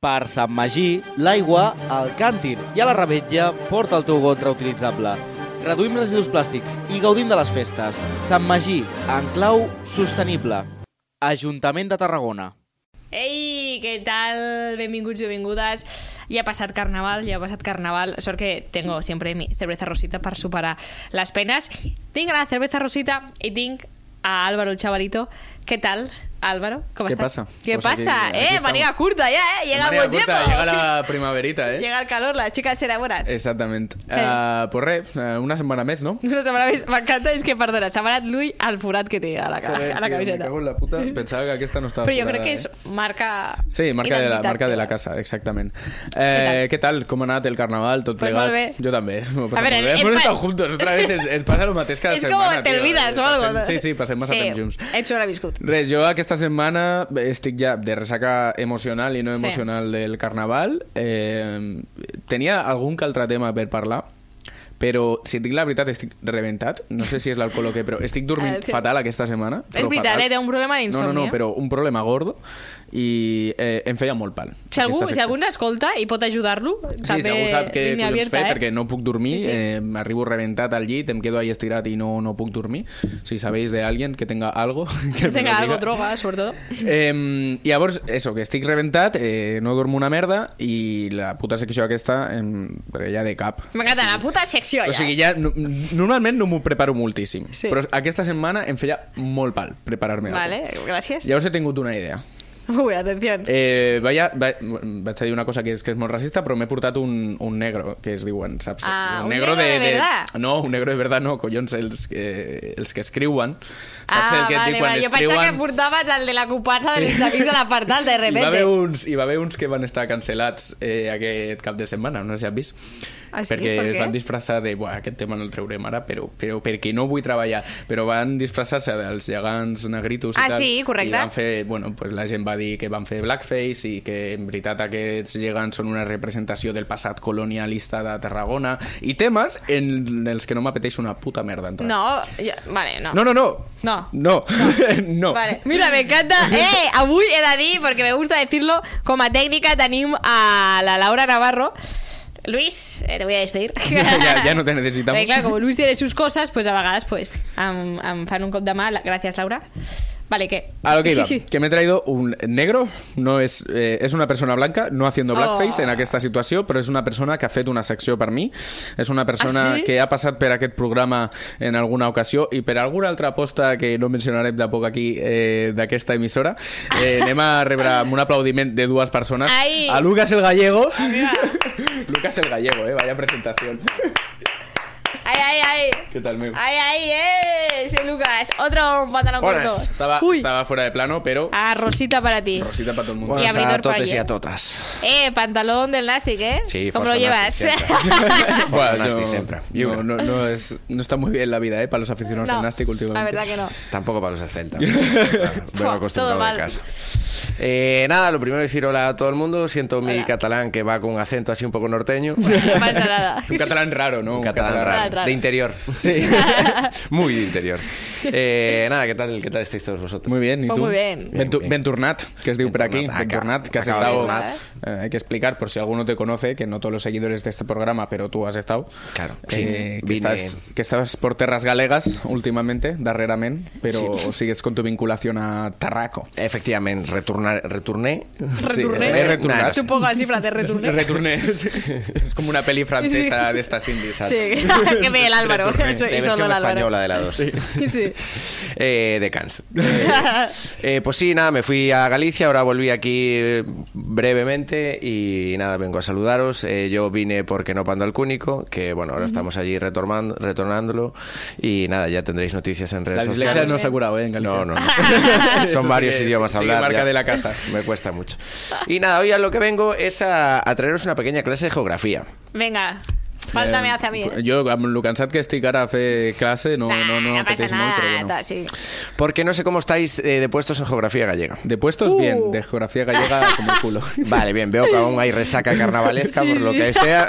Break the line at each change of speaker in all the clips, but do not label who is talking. Per Sant Magí, l'aigua al càntir i a la rebetlla porta el teu got reutilitzable. Reduïm residus plàstics i gaudim de les festes. Sant Magí, en clau sostenible. Ajuntament de Tarragona.
Ei, què tal? Benvinguts i benvingudes. Ya ha pasado carnaval, ya ha pasado carnaval. Sort que tengo siempre mi cerveza rosita para superar las penas. Tinc la cerveza rosita y tinc a Álvaro, el chavalito. ¿Qué tal, Álvaro? ¿Cómo
¿Qué
estás?
pasa?
¿Qué
Pues aquí-
pasa?
aquí
eh,
estamos.
manía curta ya, eh. Llega el
María
buen
Curta,
tiempo.
Llega la primaverita, ¿eh?
Llega el calor, las chicas se enamoran.
Exactamente. Ah, pues re, ah, una semana más, ¿no?
No sé, me encanta, es que, perdona, s'ha manat l'ull al forat que té a la, ca- a la camiseta.
la puta. Pensaba que aquí esta no estaba.
Però jo crec
curada,
que
eh.
és marca...
Sí, marca de, la,
identitat
marca de la
teva.
casa, exactament.
tal?
Eh, què tal? Com ha anat el carnaval, tot
Pues
plegat?
molt bé.
Jo també. m'ho he passat
A veure,
molt bé.
és
pues Hemos
pa-
estado juntos otra vez, ens, ens passa el mateix cada
És
setmana.
com
tio.
t'olvides o
eh, Passem-
algo. no?
Sí, sí, passem massa
sí,
temps junts.
Hem sobreviscut.
Res, jo aquesta setmana estic ja de ressaca emocional i no
Sí.
emocional del carnaval. Eh, tenia algun que altre tema per parlar, però si et dic la veritat estic reventat, no sé si és l'alcohol o què, però estic dormint
Ah, sí.
fatal aquesta setmana.
És
però
veritat,
fatal.
eh, té un problema
No, no,
d'insomni, eh?
no, però un problema gordo i eh, em feia molt pal.
Si algú,
aquesta
si
secció.
algú n'escolta i pot ajudar-lo,
Sí,
també
si algú sap què
línia
collons
abierta,
fer,
eh?
perquè no puc dormir,
Sí,
sí,
sí.
sí. eh, m'arribo reventat al llit, em quedo ahí estirat i no, no puc dormir. Si sabéis de alguien que tenga algo... Que me
Tenga
lo
algo,
diga.
droga, sobretot.
Eh, llavors, eso, que estic reventat, eh, no dormo una merda i la puta secció aquesta em, ja de cap.
M'encanta, la puta secció, ja.
O sigui, ja no, normalment no m'ho preparo moltíssim,
Sí.
sí. però aquesta setmana em feia molt pal preparar-me.
Vale,
alguna cosa.
gràcies.
Llavors he tingut una idea.
Ui, atenció.
Eh, vaya, va, vaig a dir una cosa que és, que és molt racista, però m'he portat un, un negro, que es diuen, saps?
Ah, un negro de verdad.
No, un negro de verdad no, collons, els, eh, els que escriuen. Saps el que
Ah,
et
vale,
dic quan
vale. Jo pensava que portaves el de la copatxa
Sí.
dels amics de la part d'alta, de
Hi va, haver
repente.
uns, hi va haver uns que van estar cancel·lats eh, aquest cap de setmana, no sé si has vist.
Ah, sí?
Perquè
Per
es
què?
van disfressar de... Buah, aquest tema no el traurem ara, però, però perquè no vull treballar. Però van disfressar-se dels gegants negritos
Ah,
i tal.
sí? Correcte.
I van fer... Bueno, pues la gent va dir que van fer blackface i que en veritat aquests gegants són una representació del passat colonialista de Tarragona i temes en els que no m'apeteix una puta merda entrar.
No, ja, vale, no.
No, no, no.
No.
No. no.
Vale. Mira, me encanta. Eh, avui he de dir, porque me gusta decirlo, como a técnica tenim a la Laura Navarro. Luis, eh, te voy a despedir.
Ya- ya no te necesitamos.
Perquè, clar, com Luis tiene sus cosas, pues a vegades pues, em, em fan un cop de mà. La- Gràcies, Laura. Vale, què?
A lo que iba, que me he traído un negro, no es, eh, es una persona blanca, no haciendo blackface
Oh.
en aquesta situació, però és una persona que ha fet una secció per mi, és una persona
Ah, sí?
que ha passat per aquest programa en alguna ocasió i per alguna altra aposta que no mencionarem de poc aquí eh, d'aquesta emissora, eh, anem a rebre amb un aplaudiment de dues persones
Ai.
a Lucas el Gallego Lucas el Gallego, eh, vaya presentació
Ai, ai, ai.
Què tal, meu?
Ai, ai, eh. Sí, Lucas. Otro pantalón corto.
Buenas.
Estava,
Ui.
estava fora de plano, però
Ah, Rosita para ti.
Rosita para todo el mundo.
Bueno. Y
Buenas
abridor
a totes
para
y a
ayer.
totas.
Eh, pantalón del Nastic, eh.
Sí,
¿Cómo lo
Forza
llevas?
Nasty siempre. Forza Nasty siempre. Y
No,
una.
no, no es, no está muy bien la vida, ¿eh? Para los aficionados
No,
del Nastic últimamente.
La verdad que no.
Tampoco para los 60. Claro, Vengo
Fua, todo
acostumbrado
mal.
de casa. Eh, nada, lo primero es decir hola a todo el mundo. Siento mi
Hola.
catalán que va con un acento así un poco norteño.
No pasa nada.
Un catalán raro, ¿no?
Un catalán raro.
raro.
De interior.
Sí.
Muy de interior. Eh, nada, ¿qué tal, ¿qué tal estáis todos vosotros?
Muy bien, ¿y
Pues
tú?
muy bien.
Bentu-
Bien, bien.
Benturnat, que es de por aquí.
Benturnat, acá.
Benturnat, que has
Acaba
estado...
Benturnat.
Eh, hay que explicar, por si alguno te conoce, que no todos los seguidores de este programa, pero tú has estado.
Claro,
Eh,
sí,
que,
vine-
estás, que estás por terras galegas últimamente, darreramente, pero sigues con tu vinculación a Tarraco.
Efectivamente, returnar, returné.
Returné.
he retornat.
Returnar.
Supongo así, frate, returné.
Returné. es como una peli francesa de estas indies. ¿sabes?
Sí, que ve el Álvaro. Eso,
De
y solo
versión
el Álvaro.
española de la 2.
Sí.
Eh, de Cans. Eh, pues sí, nada, me fui a Galicia, ahora volví aquí eh, brevemente y nada, vengo a saludaros. Eh, yo vine porque no pando al cúnico, que bueno, ahora estamos allí retornando, retornándolo y nada, ya tendréis noticias en redes
La dislexia
sociales.
no se ha curado, ¿eh? En Galicia.
No, no. no.
Eso sí
Son varios
que-
idiomas
sí,
a
sí,
hablar.
marca
ya.
de la casa.
Me cuesta mucho. Y nada, hoy a lo que vengo es a, a traeros una pequeña clase de geografía.
Venga. Falta
Eh,
me hace a mi.
Jo, amb el cansat que estic ara a fer classe, no,
Ah,
no, no,
¿eh? no pasa
apeteix molt, però
nada.
bueno.
tal, sí.
Porque no sé cómo estáis eh, de puestos en geografía gallega.
De
Uh.
puestos, bien. De geografía gallega, como el culo.
Vale, bien, veo que aún hay resaca carnavalesca por lo que sea.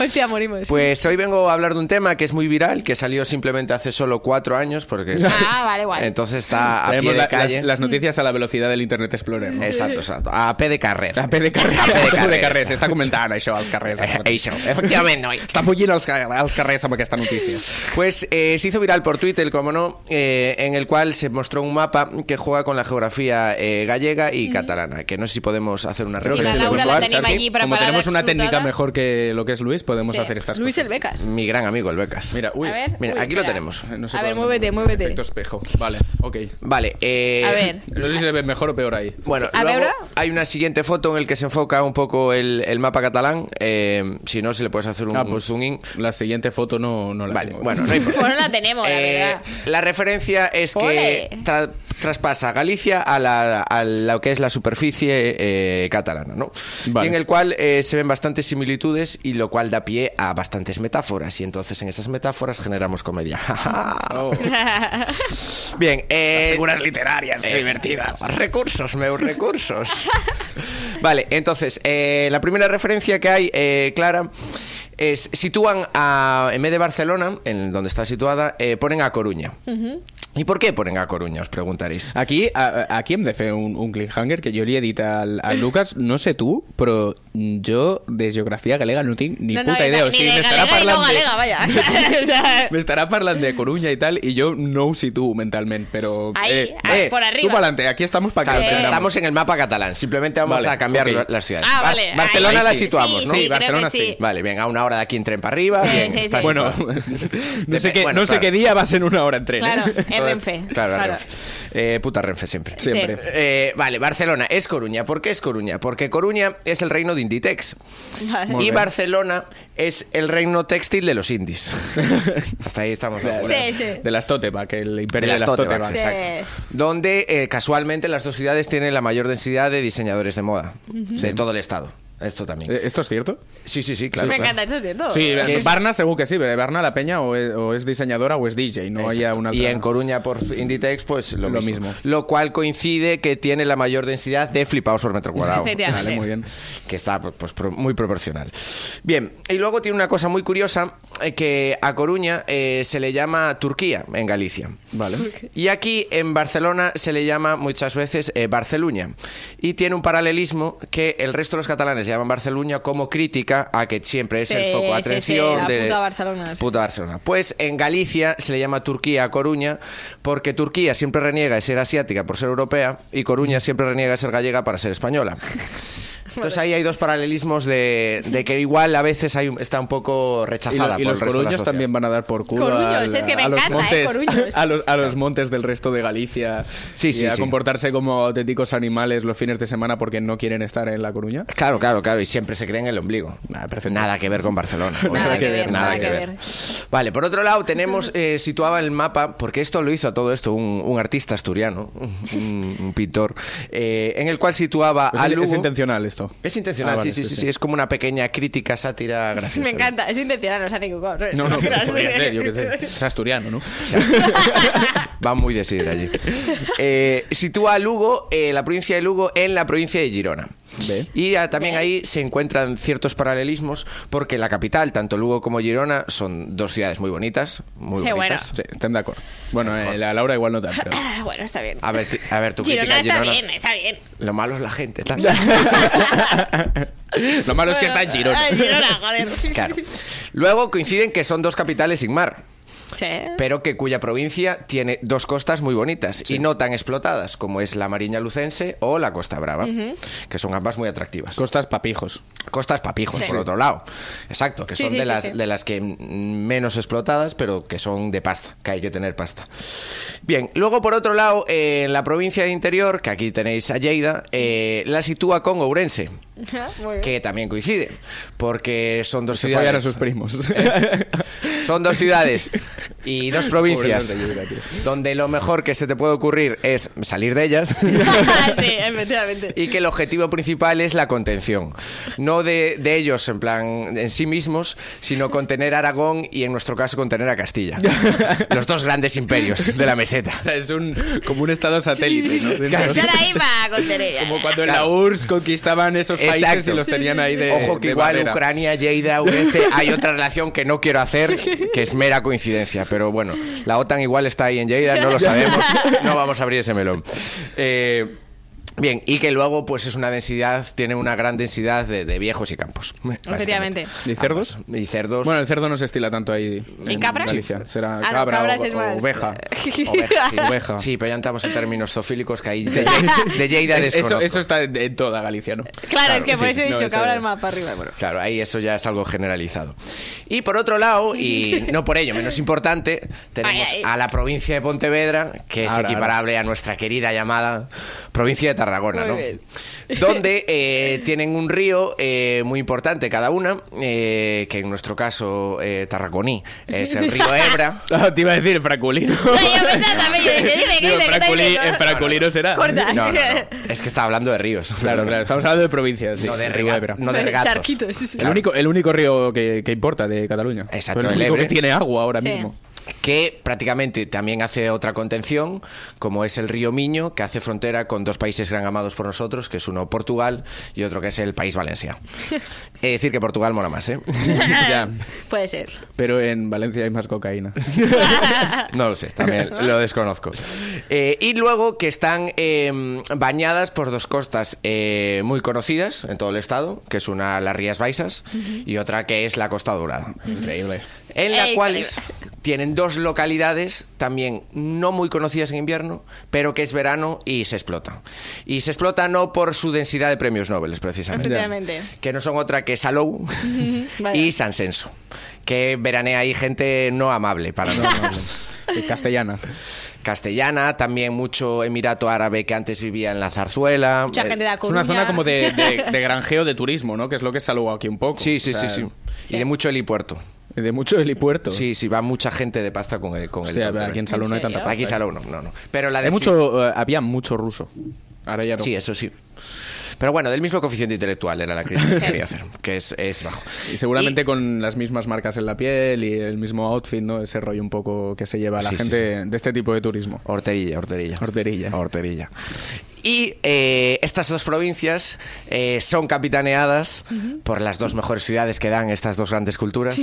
Hostia, morimos.
Pues hoy vengo a hablar de un tema que es muy viral, que salió simplemente hace solo cuatro años, porque...
Ah, vale, guay.
Entonces está Ah, a pie
Ah, Traemos
de
la-
calle.
las, las noticias a la velocidad del Internet Explorer. No?
Exacto, exacto. A pie de carrera.
A P de carrer.
A P de
A P de
carrer.
carrer. S'està comentant això als carrers.
Eh, això, efectivamente. hoy.
Està bullint als, ca- als carrers amb aquesta notícia.
Pues eh, se hizo viral por Twitter, como no, eh, en el cual se mostró un mapa que juega con la geografía eh, gallega y catalana, que no sé si podemos hacer una
Creo que
referencia
sí, la Laura
visual,
la tenim
Sergi.
allí
Como
preparada,
tenemos una técnica
explotada.
mejor que lo que es Luis, podemos
Sí.
hacer estas
Luis el
cosas.
Becas.
Mi gran amigo, el Becas.
Mira, uy.
A ver.
Mira,
uy,
aquí lo
espera.
tenemos.
No sé
A
por
ver,
dónde-
muévete, muévete.
Efecto espejo. Vale, ok.
Vale. eh,
A ver.
No sé si se ve mejor o peor ahí.
Bueno,
A
luego
ver, ahora.
hay una siguiente foto en el que se enfoca un poco el, el mapa catalán. eh, si no, si le puedes hacer un,
Ah,
un
pues
zoom in.
La siguiente foto no, no la
Vale,
tengo.
bueno, no importa.
Bueno, la tenemos, la
Eh,
verdad.
la referencia es
Ole.
que tra- traspasa Galicia a, la, a lo que es la superficie eh, catalana, ¿no?
Vale.
Y en el cual eh, se ven bastantes similitudes y lo cual da pie a bastantes metáforas. Y entonces en esas metáforas generamos comedia.
Oh.
Bien, eh,
figuras literarias, qué
eh,
divertidas.
Recursos, meus recursos. vale, entonces, eh, la primera referencia que hay, eh, Clara, es sitúan a, en vez de Barcelona, en donde está situada, eh, ponen a Coruña. ¿Y por qué ponen a Coruña, os preguntaréis?
Eh,
Aquí, a, a- aquí hem de fer un, un cliffhanger que jo li he dit al, al Lucas, no sé tu, però jo de geografia galega no tinc ni
No, no,
puta
ni-
idea. o
ni
sigui,
de galega i
m'estarà
no
parlant de-
galega, vaya. O sea,
M'estarà parlant de Coruña i tal, i jo no ho situo mentalment, però...
Ahí, ahí, por arriba.
Tú pa'lante, aquí estamos para que
Claro,
lo
pero
Eh.
entendamos.
estamos en el mapa catalán, simplemente vamos
Vale,
a cambiar
ok.
la- las ciudades.
Ah,
Bar-
vale, ahí
Barcelona
sí.
la situamos,
Sí,
¿no?
sí,
Sí,
creo
Barcelona
que
sí.
sí.
Vale, bien, a una hora de aquí en tren para arriba.
Sí,
bien,
sí,
está
sí.
Bueno,
situado.
no sé, qué,
Bueno,
no sé
claro.
qué día va a ser una hora en tren. ¿eh?
Claro, en Renfe.
Claro,
Claro.
Renfe. Eh, puta Renfe siempre.
Sí.
Siempre.
Eh, vale, Barcelona es Coruña. ¿Por qué es Coruña? Porque Coruña es el reino de Inditex.
Vale.
Muy
y
bien.
Barcelona es el reino textil de los indies. Hasta ahí estamos. de acuerdo.
Sí, sí.
De las Totebac, el imperio de
Las
las
Totebac,
Totebac.
Sí.
exacto. Donde eh, casualmente las dos ciudades tienen la mayor densidad de diseñadores de moda de todo el estado. Esto también.
Eh, ¿Esto es cierto?
sí, sí, sí, claro.
Me
claro.
encanta, eso es cierto.
Sí,
Que es-
Barna seguro que sí, pero Barna la peña o es, o es diseñadora o es DJ, no haya
Exacto.
una
Y
otra-
en Coruña por Inditex, pues lo,
Lo
mismo.
mismo.
Lo cual coincide que tiene la mayor densidad de flipados por metro cuadrado.
Efectivamente.
Vale, muy bien.
que está pues, pues, pro- muy proporcional. Bien, y luego tiene una cosa muy curiosa, eh, que a Coruña eh, se le llama Turquía en Galicia.
Vale.
Y aquí en Barcelona se le llama muchas veces eh, Barceluña. Y tiene un paralelismo que el resto de los catalanes llaman Barceluña como crítica a que siempre es
Sí,
el foco de
sí,
atención
sí, la
de
puta Barcelona, sí.
puta Barcelona. Pues en Galicia se le llama Turquía a Coruña porque Turquía siempre reniega de ser asiática por ser europea y Coruña siempre reniega de ser gallega para ser española. Entonces ahí hay dos paralelismos de, de que igual a veces hay, un- está un poco
Y, lo-
rechazada
y
por el
los
resto de la
coruños
sociedad.
también van a dar por culo
Coruños,
al-
es que me
a los
encanta, ¿eh?
montes,
Coruños.
a, los, a los montes del resto de Galicia
Sí, sí,
y a
sí.
comportarse como auténticos animales los fines de semana porque no quieren estar en la Coruña.
Claro, claro, claro, y siempre se creen el ombligo. Nada, nada que ver con Barcelona. obviamente.
que ver, nada que ver.
Vale, por otro lado tenemos eh, situado el mapa, porque esto lo hizo a todo esto un, un artista asturiano, un, un pintor, eh, en el cual situaba
Pues
a
es-
Ah, Lugo...
es intencional esto.
Es intencional,
Ah, vale,
sí, sí, sí, sí, es como una pequeña crítica, sátira graciosa.
Me encanta, es intencional, no sea ningún cor.
No, no, pero
Sí.
podría ser, yo qué sé. Es asturiano, ¿no?
Va muy de sidra allí. Eh, sitúa a Lugo, eh, la provincia de Lugo, en la provincia de Girona.
Ve.
Y ah, también ahí se encuentran ciertos paralelismos porque la capital, tanto Lugo como Girona, son dos ciudades muy bonitas, muy
Sí, bueno.
bonitas.
Sí, estén de acuerdo. Bueno, eh, la Laura igual no tanto. pero-
Ah, Bueno, está bien.
A ver, ti- a ver, tu
Girona
crítica
está
Girona.
bien, ¿eh? está bien.
Lo malo es la gente. tal.
Lo malo es que está en Girona.
Ah, Girona, joder.
Claro. Luego coinciden que son dos capitales sin mar.
Sí.
pero que cuya provincia tiene dos costas muy bonitas y no tan explotadas como es la Mariña Lucense o la Costa Brava, que son ambas muy atractivas.
Costas papijos.
Costas papijos,
Sí.
por otro lado. Exacto, que
Sí,
son
sí,
de,
sí,
las,
sí.
de las que mm, menos explotadas, pero que son de pasta, que hay que tener pasta. Bien, luego por otro lado, eh, en la provincia de Interior, que aquí tenéis a Lleida, eh, la sitúa con Ourense,
Ajá, Muy bien.
que también coincide, porque son dos
Se
ciudades...
follan a sus primos.
Son dos ciudades y dos provincias
Pobre Andalucía, tío.
donde lo mejor que se te puede ocurrir es salir de ellas
sí, efectivamente.
y que el objetivo principal es la contención. No de, de ellos en plan en sí mismos, sino contener a Aragón y en nuestro caso contener a Castilla. Los dos grandes imperios de la meseta.
O sea, es un, como un estado satélite, ¿no? Dentro-
Claro,
Yo ahora iba con Tereya.
Como cuando en la URSS conquistaban esos países
Exacto.
y los tenían ahí de
Ojo que
de
igual
barrera.
Ucrania, Lleida, Urense, hay otra relación que no quiero hacer, que es mera coincidencia. Pero bueno, la OTAN igual está ahí en Lleida, no lo sabemos, no vamos a abrir ese melón. Eh, Bien, y que luego pues es una densidad, tiene una gran densidad de, de viejos y campos. básicamente.
Efectivamente.
¿Y cerdos?
Ambos. Y cerdos.
Bueno, el cerdo no se estila tanto ahí.
¿Y
en
cabras?
Galicia. Será
Ah, no,
cabra
cabras
o,
es
o
más-
oveja.
oveja, sí,
Oveja.
Sí, pero ya entramos en términos zoofílicos que ahí de, de Lleida
Es- eso,
desconozco.
eso está en, en toda Galicia, ¿no?
Claro, es que por
sí,
eso
sí.
he dicho
No,
que
eso-
ahora es más para arriba. Bueno.
Claro, ahí eso ya es algo generalizado. Y por otro lado, y no por ello menos importante, tenemos
Ay, ay.
a la provincia de Pontevedra, que es
Ahora,
equiparable a nuestra querida llamada provincia de Tarragona,
Muy
¿no?
bien.
Donde eh, tienen un río eh, muy importante cada una, eh, que en nuestro caso eh, Tarragoní es el río Ebra.
Ah, te iba a decir Fraculino.
No, yo pensaba pues también, yo dije, dime, ¿qué
Digo,
dice? ¿Qué está
Fraculi-
diciendo?
en Fraculino será.
Corta.
No, no, no. Es que estaba hablando de ríos.
Claro, claro, estamos hablando de provincias. sí.
No de,
Río
rega-
Ebra.
no de regatos.
Charquitos, sí, sí.
Claro.
El, único, el único río que, que importa de Cataluña.
Exacto,
el
el
único
Ebre.
que tiene agua ahora
Sí.
mismo.
que prácticamente también hace otra contención, como es el río Miño, que hace frontera con dos países gran amados por nosotros, que es uno Portugal y otro que es el país Valencia. Es decir, que Portugal mola más, ¿eh?
Ya.
Puede ser.
Pero en Valencia hay más cocaína.
No lo sé, también lo desconozco. Eh, y luego que están eh, bañadas por dos costas eh, muy conocidas en todo el estado, que es una las Rías Baixas y otra que es la Costa Dorada.
Increíble.
en la
Ey,
cuales tienen dos localidades también no muy conocidas en invierno, pero que es verano y se explota. Y se explota no por su densidad de premios Nobel, precisamente,
Efectivamente.
que no son otra que Salou
Vaya.
y Sansenso, que veranea ahí gente no amable para
No, no, no.
nosotros.
Y Castellana.
Castellana, también mucho Emirato Árabe que antes vivía en la Zarzuela.
Mucha
Eh,
gente de la
Es una
Coruña.
zona como de, de- de granjeo de turismo, ¿no? Que es lo que es Salou aquí un poco.
Sí, sí,
O sea,
sí, sí,
Sí.
Y de mucho helipuerto.
De mucho helipuerto.
Sí, sí, va mucha gente de pasta con el. Con el
Hostia,
helicóptero.
aquí en Salou no hay
¿En
tanta
serio?
pasta.
Aquí
¿eh?
Salou no, no, no. Pero la de
Hay mucho, eh, había mucho ruso. Ahora ya no.
Sí, eso sí. Pero bueno, del mismo coeficiente intelectual era la crítica que quería hacer, que es, es bajo.
Y seguramente
Y-
con las mismas marcas en la piel y el mismo outfit, ¿no? Ese rollo un poco que se lleva la
Sí, sí,
gente de este tipo de turismo.
Horterilla, horterilla.
Horterilla.
Horterilla. Y eh, estas dos provincias eh, son capitaneadas por las dos mejores ciudades que dan estas dos grandes culturas,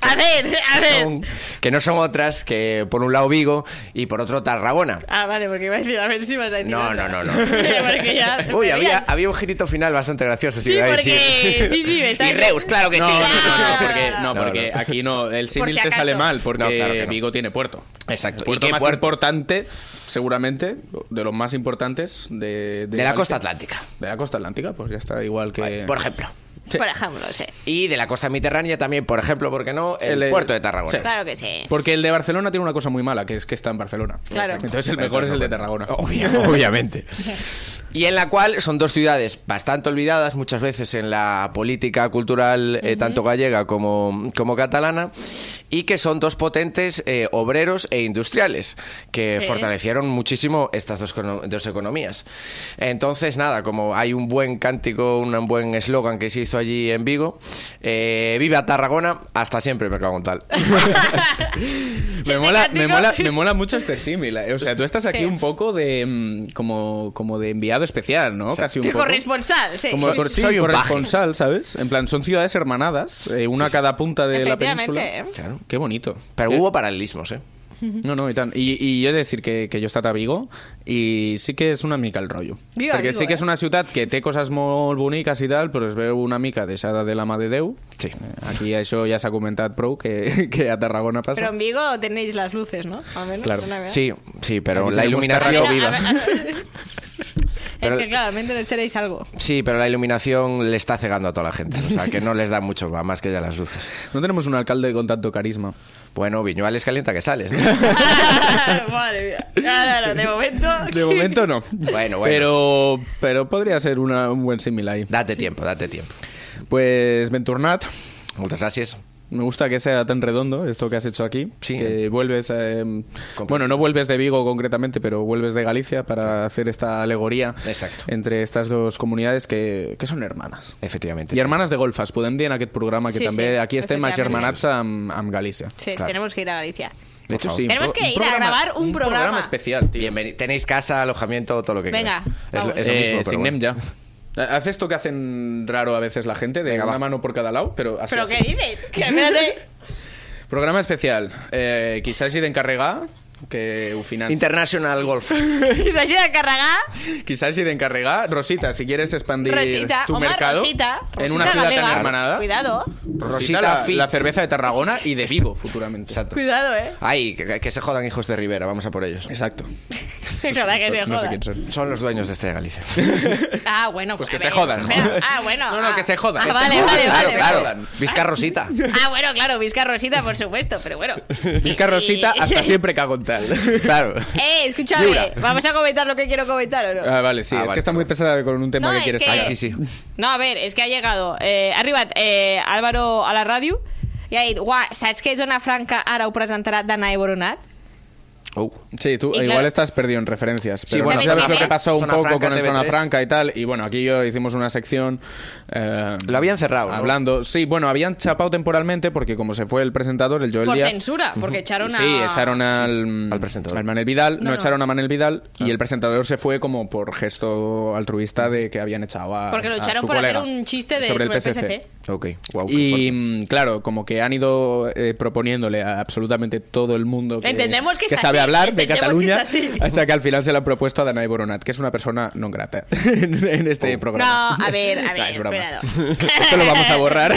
A ver, a
que,
ver.
son- que no son otras que por un lado Vigo y por otro Tarragona.
Ah, vale, porque iba a decir, a ver si vas a decir.
No,
otra.
no, no, no.
porque ya.
Uy,
me
había,
veían.
había un girito final bastante gracioso. si
Sí,
iba a
porque-
decir.
sí, sí, me está-
Y Reus, claro que
No,
sí.
no, no,
Ah.
no, porque, no,
No,
porque
no.
aquí no, el símil
si
te
acaso.
sale mal, porque
No, claro que no.
Vigo tiene puerto. El
Exacto. ¿Y
puerto
qué
más
puerto?
importante, seguramente, de los más importantes de...
De la
Galicia.
costa atlántica.
De la costa atlántica, pues ya está igual que...
Por ejemplo.
Sí.
Por ejemplo, sí.
Y de la costa mediterránea también, por ejemplo, ¿por qué no? El,
El-
puerto de Tarragona.
Sí.
Claro que sí.
Porque el de Barcelona tiene una cosa muy mala, que es que está en Barcelona.
Claro.
Entonces el mejor es el de Tarragona.
Obvia- obviamente. Y en la cual son dos ciudades bastante olvidadas muchas veces en la política cultural, eh, tanto gallega como, como catalana, y que son dos potentes eh, obreros e industriales, que
Sí.
fortalecieron muchísimo estas dos, cono- dos economías. Entonces, nada, como hay un buen cántico, un buen eslogan que se hizo allí en Vigo, eh, viva Tarragona, hasta siempre me cago en tal.
Me
Este
mola, me,
cántico.
mola, me mola mucho este símil. eh. O sea, tú estás aquí
Sí.
un poco de mm, como, como de enviado especial, ¿no? Casi un
De
poco.
corresponsal, sí.
Como cor- sí,
Soy un paje.
corresponsal, ¿sabes? En plan, son ciudades hermanadas, eh, una a cada punta de la
Efectivamente,
península.
¿eh?
Claro.
Qué bonito.
Pero
Qué-
hubo paralelismos, ¿eh?
No, no, y tan. Y, y yo he de decir que, que yo he estat a Vigo i sí que és una mica el rotllo.
Viva
Perquè
Vigo,
sí que és
eh?
una ciutat que té coses molt boniques i tal, però es veu una mica deixada de la mà de Déu.
Sí.
Ah,
Aquí això ja s'ha comentat prou, que, que a Tarragona passa.
Pero en Vigo tenéis las luces, ¿no? Al menos.
Claro.
una vez.
Sí, sí, pero
Aquí
la
tenemos
A ver,
iluminación...
a ver, a ver. Es
Pero-
que claramente no estaréis algo.
Sí, pero la iluminación le está cegando a toda la gente. O sea, que no les da mucho va, más que ya las luces.
No tenemos un alcalde con tanto carisma.
Bueno, Viñuales calienta que sales. ¿no?
Madre mía. Claro, de momento.
De momento no.
Bueno, bueno.
Pero, pero podría ser una, un buen símil ahí.
Date tiempo, date tiempo.
Pues Venturnat,
Muchas gracias.
Me gusta que sea tan redondo esto que has hecho aquí.
Sí.
Que vuelves. eh, bueno, no vuelves de Vigo concretamente, pero vuelves de Galicia para hacer esta alegoría
Exacto. Eh,
entre estas dos comunidades que, que son hermanas.
Efectivamente.
I
sí.
hermanes de golfes, podem dir en aquest programa que
Sí,
també
sí,
aquí estem
efectivament.
agermanats amb, amb Galícia.
Sí,
Claro.
tenemos que ir a Galicia.
De hecho, sí. un
Tenemos
pro-
que
un
ir a grabar un programa.
especial, tío.
Bienveni- Tenéis casa, alojamiento, todo lo que
Venga,
queráis. Es lo-
vamos.
Es, lo
Eh,
mismo, pero
signem
bueno.
ya. Eh, Haz esto que hacen raro a veces la gente, de
Venga,
una
va.
mano por cada lado, pero así.
¿Pero
así.
qué dices? Que espérate.
Programa especial. Eh, quizás y de encarregar que ho financi.
International Golf.
Y se ha ido a cargar.
Quizás y de encarregar. Rosita, si quieres expandir
Rosita,
tu
Omar,
mercado
Rosita,
en
Rosita
una ciudad
galega.
tan hermanada.
Cuidado,
Rosita
Rosita, la-
Fitz.
la, cerveza de Tarragona y de Vigo futuramente.
Exacto.
cuidado, eh.
Ay, que, que se jodan hijos de Rivera, vamos a por ellos.
Exacto.
Es verdad que se
No sé
joda.
quién son.
Son los dueños de este Galicia.
Ah, bueno.
Pues
a
que
ver,
se jodan.
espera. Ah, bueno.
No, no,
ah.
que se jodan.
Ah,
Que se
vale,
jodan.
vale,
claro,
vale.
claro.
vale.
Vizca Rosita.
Ah, bueno, claro, Vizca Rosita, por supuesto, pero bueno.
Vizca Rosita
Y-
hasta siempre cago en tal.
Claro.
Eh, escúchame,
Lliura.
¿vamos a comentar lo que quiero comentar o no?
Ah, vale, sí.
Ah,
es
vale,
que está muy pesada con un tema
No,
que
es
quieres
que-
sacar.
Sí, sí.
No, a ver, és que ha llegado. Eh, ha arribat eh, Álvaro a la ràdio i ha dit, uah, saps que Zona Franca ara ho presentarà Danae Boronat?
Oh.
Sí, tú
Y
igual
claro-
estás perdido en referencias. Pero
Sí,
bueno,
¿sabes
sabes
qué
lo que
es?
pasó un
Zona
poco
Franca,
con el Zona
TV3.
Franca y tal. Y bueno, aquí yo hicimos una sección. eh,
Lo habían cerrado, ¿no?
Hablando. Sí, bueno, habían chapado temporalmente porque, como se fue el presentador, el Joel
Por
Díaz.
censura, porque echaron a...
Sí, echaron al,
al presentador.
al Manel Vidal, no,
No, no.
echaron a Manel Vidal y el presentador se fue como por gesto altruista de que habían echado a.
Porque lo
a
echaron
su
por hacer
colega
un chiste de- sobre el PSC.
Ok. Wow,
y mm, claro, como que han ido eh, proponiéndole a absolutamente todo el mundo que,
Entendemos que es
sabe
así,
hablar de
entendemos
Cataluña,
que es así.
hasta que al final se lo han propuesto a Danae Boronat, que es una persona no grata en, en este
Oh.
No,
programa.
a ver, a
No,
ver,
es broma.
cuidado.
Esto lo vamos a borrar.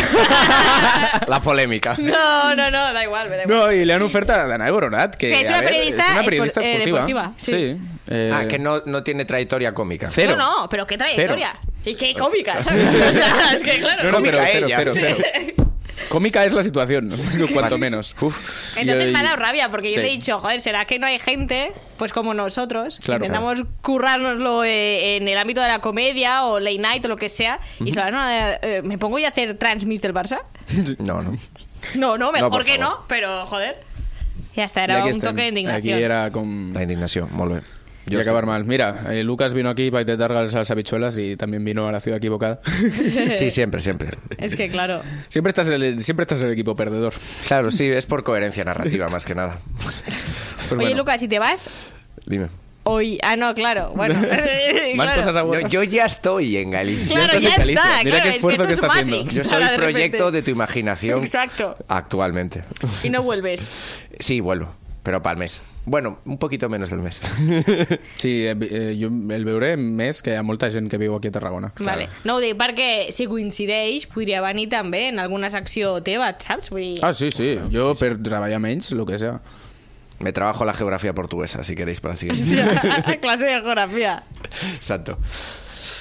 La polémica.
No, no, no, da igual, me da igual.
No, y le han oferta a Danae Boronat, que,
Que es
a
una
ver,
periodista
es una
espor-
periodista
eh,
esportiva.
deportiva, sí.
eh,
Ah, que no, no tiene trayectoria cómica.
cero.
No, no, pero qué trayectoria. Y qué cómica, ¿sabes? O sea, es que claro.
No, no,
Cómica
pero cero,
ella.
cero, cero. Cómica es la situación, cuanto menos.
Entonces
Yo-
me ha dado rabia porque yo
Sí.
te he dicho, joder, ¿será que no hay gente? Pues como nosotros, que
Claro.
intentamos currárnoslo eh, en el ámbito de la comedia o late night o lo que sea. Y se van a- eh, ¿me pongo yo a hacer transmit del Barça?
No, no.
No, no, mejor
por
que
favor.
no, pero joder. Ya está,
Y
era
aquí
un
estem.
toque de indignación.
Aquí era con...
La indignación, molt bé.
Yo
Jo
acabar
sé.
mal. Mira, eh, Lucas vino aquí para intentar ganarse las habichuelas y también vino a la ciudad equivocada.
Sí, siempre, siempre.
Es que claro.
siempre, estás en el, siempre estás en el equipo perdedor.
Claro, sí, es por coherencia narrativa más que nada.
Pues
Oye,
bueno,
Lucas, si te vas
Dime.
hoy. Ah, no, claro. Bueno,
Más
claro.
cosas a
Yo, yo ya estoy en Galicia.
Claro,
estás
ya
en
está.
Galicia. Mira
claro,
qué
es
esfuerzo
tú
que
es
está haciendo.
Matrix,
Yo soy
ahora de
proyecto
repente.
de tu imaginación
Exacto.
actualmente.
Y no vuelves.
Sí, vuelvo, pero para el mes. Bueno, un poquito menos del mes.
Sí, eh, vi- eh, jo el veuré més que hi ha molta gent que viu aquí a Tarragona.
Vale. No, ho dic perquè si coincideix podria venir també en alguna secció teva, et saps? Vull dir...
Ah, sí, sí. Jo per treballar menys, el que sea.
Me trabajo la geografía portuguesa, si queréis, para la siguiente.
classe de geografia.
Exacto.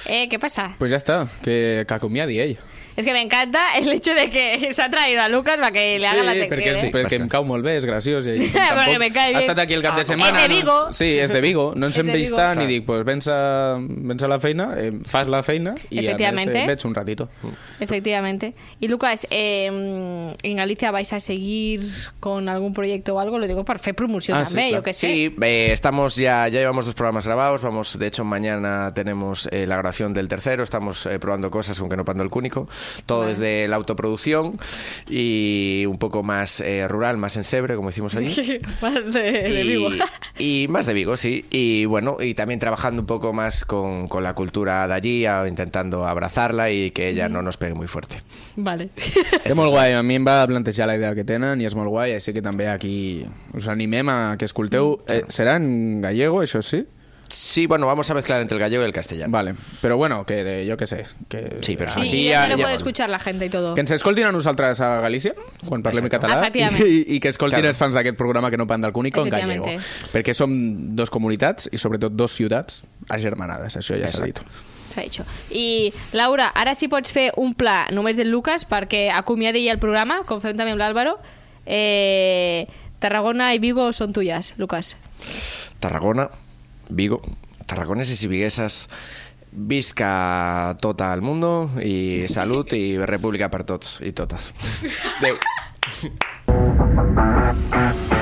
Eh, què passa?
Pues ya está, que, que acomiadi ell.
Es que me encanta el hecho de que s'ha traído a Lucas para que le haga la
sí, perquè,
sección.
sí,
eh.
perquè em cau molt bé, és graciós. I,
Perquè
tampoc-
me cae
Ha
bien.
estat aquí el cap de
Ah, és
setmana.
de Vigo.
No, sí, és de Vigo. No ens
És
hem
de
vist
Vigo.
tant i
Clar.
dic, pues vens a, vens a la feina, eh, fas la feina i a més
Efectivamente.
eh, veig un ratito.
Efectivamente. Y Lucas, eh, en Galicia vais a seguir con algún proyecto o algo, lo digo para hacer promoción
Ah, sí,
también,
claro.
yo que sé.
Sí, eh, estamos ya, ya llevamos dos programas grabados. Vamos, de hecho, mañana tenemos eh, la grabación del tercero. Estamos eh, probando cosas con que no pando el cúnico. Todo desde la autoproducción y un poco más eh, rural, más ensebre, como decimos allí.
Más de, de
Y-
vivo.
Y, más de Vigo, sí. Y bueno, y también trabajando un poco más con, con la cultura de allí, a- intentando abrazarla y que ella no nos pegue muy fuerte.
Vale.
És molt guai, a mi em va plantejar la idea que tenen i és molt guai, així que també aquí us animem a que escolteu. Eh, serà en gallego, això sí?
Sí, bueno, vamos a mezclar entre el gallego y el castellano.
Vale, però bueno, que de, jo que sé. Que,
Sí,
Sí,
perfecto.
y ya se lo puede escuchar la gente y todo.
Que ens escoltin a nosaltres a Galícia, quan parlem
Exacte.
en català,
Efectivament.
i, i que escoltin
Claro.
els fans d'aquest programa que no pan del Cúnico en gallego.
Efectivamente.
Perquè som dos comunitats i sobretot dos ciutats agermanades, això ja s'ha dit.
Exacte.
S'ha dit. I, Laura, ara sí pots fer un pla només del Lucas perquè acomiadi ja el programa, com fem també amb l'Àlvaro. Eh, Tarragona i Vigo són tuyas, Lucas.
Tarragona, Vigo, tarragoneses y viguesas, visca tota al mundo y salud y república para tots y totas. Adéu. Chao.